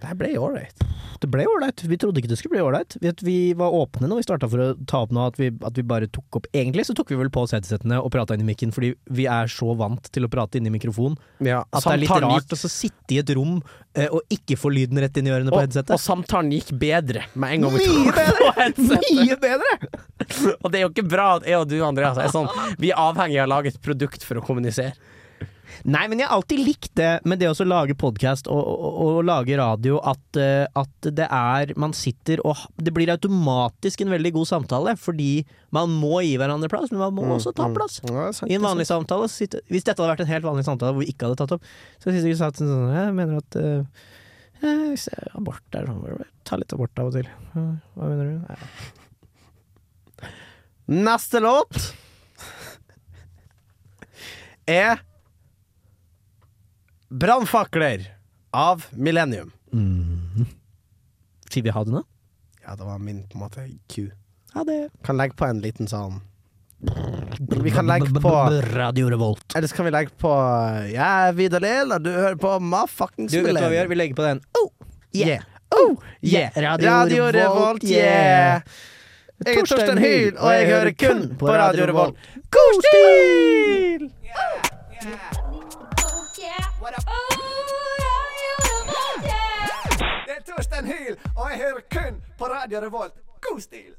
B: Det her ble ålreit.
A: Det ble ålreit. Vi trodde ikke det skulle bli ålreit. Vi, vi var åpne når vi starta for å ta opp nå, at vi, at vi bare tok opp Egentlig så tok vi vel på oss headsetene og prata inn i mikken, fordi vi er så vant til å prate inn i mikrofon
B: Ja,
A: at det er litt rart å så sitte i et rom eh, og ikke få lyden rett inn i ørene på
B: og, og
A: headsetet.
B: samtalen gikk bedre med en gang vi
A: Mye
B: tok på headsetet.
A: <laughs> Mye bedre!
B: <laughs> Og det er jo ikke bra at jeg og du, Andreas, er sånn Vi er avhengig av å lage et produkt for å kommunisere.
A: Nei, men jeg har alltid likt det med det å så lage podkast og, og, og lage radio, at, eh, at det er Man sitter og ha- Det blir automatisk en veldig god samtale, fordi man må gi hverandre plass, men man må
B: Mm,
A: også ta plass. I en vanlig samtale så sitter, Hvis dette hadde vært en helt vanlig samtale hvor vi ikke hadde tatt opp, så hadde vi sagt sånn Jeg mener at eh, eh, hvis jeg- abort er sånn Ta litt abort av og til. Eh, Hva mener du? Nei.
B: Neste låt er Brannfakler av Millennium.
A: Sier vi ha det nå?
B: Ja, det var min på en måte Q.
A: Ha det.
B: Kan legge på en liten sånn Vi kan legge på
A: Radio Revolt.
B: Eller så kan vi legge på Jeg er Vidar Lill, og du hører på Ma fuckings
A: Du vet hva vi gjør? Vi legger på den. Oh, yeah.
B: Yeah.
A: Oh,
B: yeah.
A: Radio,
B: Radio Revolt, yeah! Jeg er Torstein Hyl, og jeg hører kun på Radio Revolt.
A: God stil!
I: Det er Torstein Hyl, og jeg hører kun på Radio Revolt. God stil!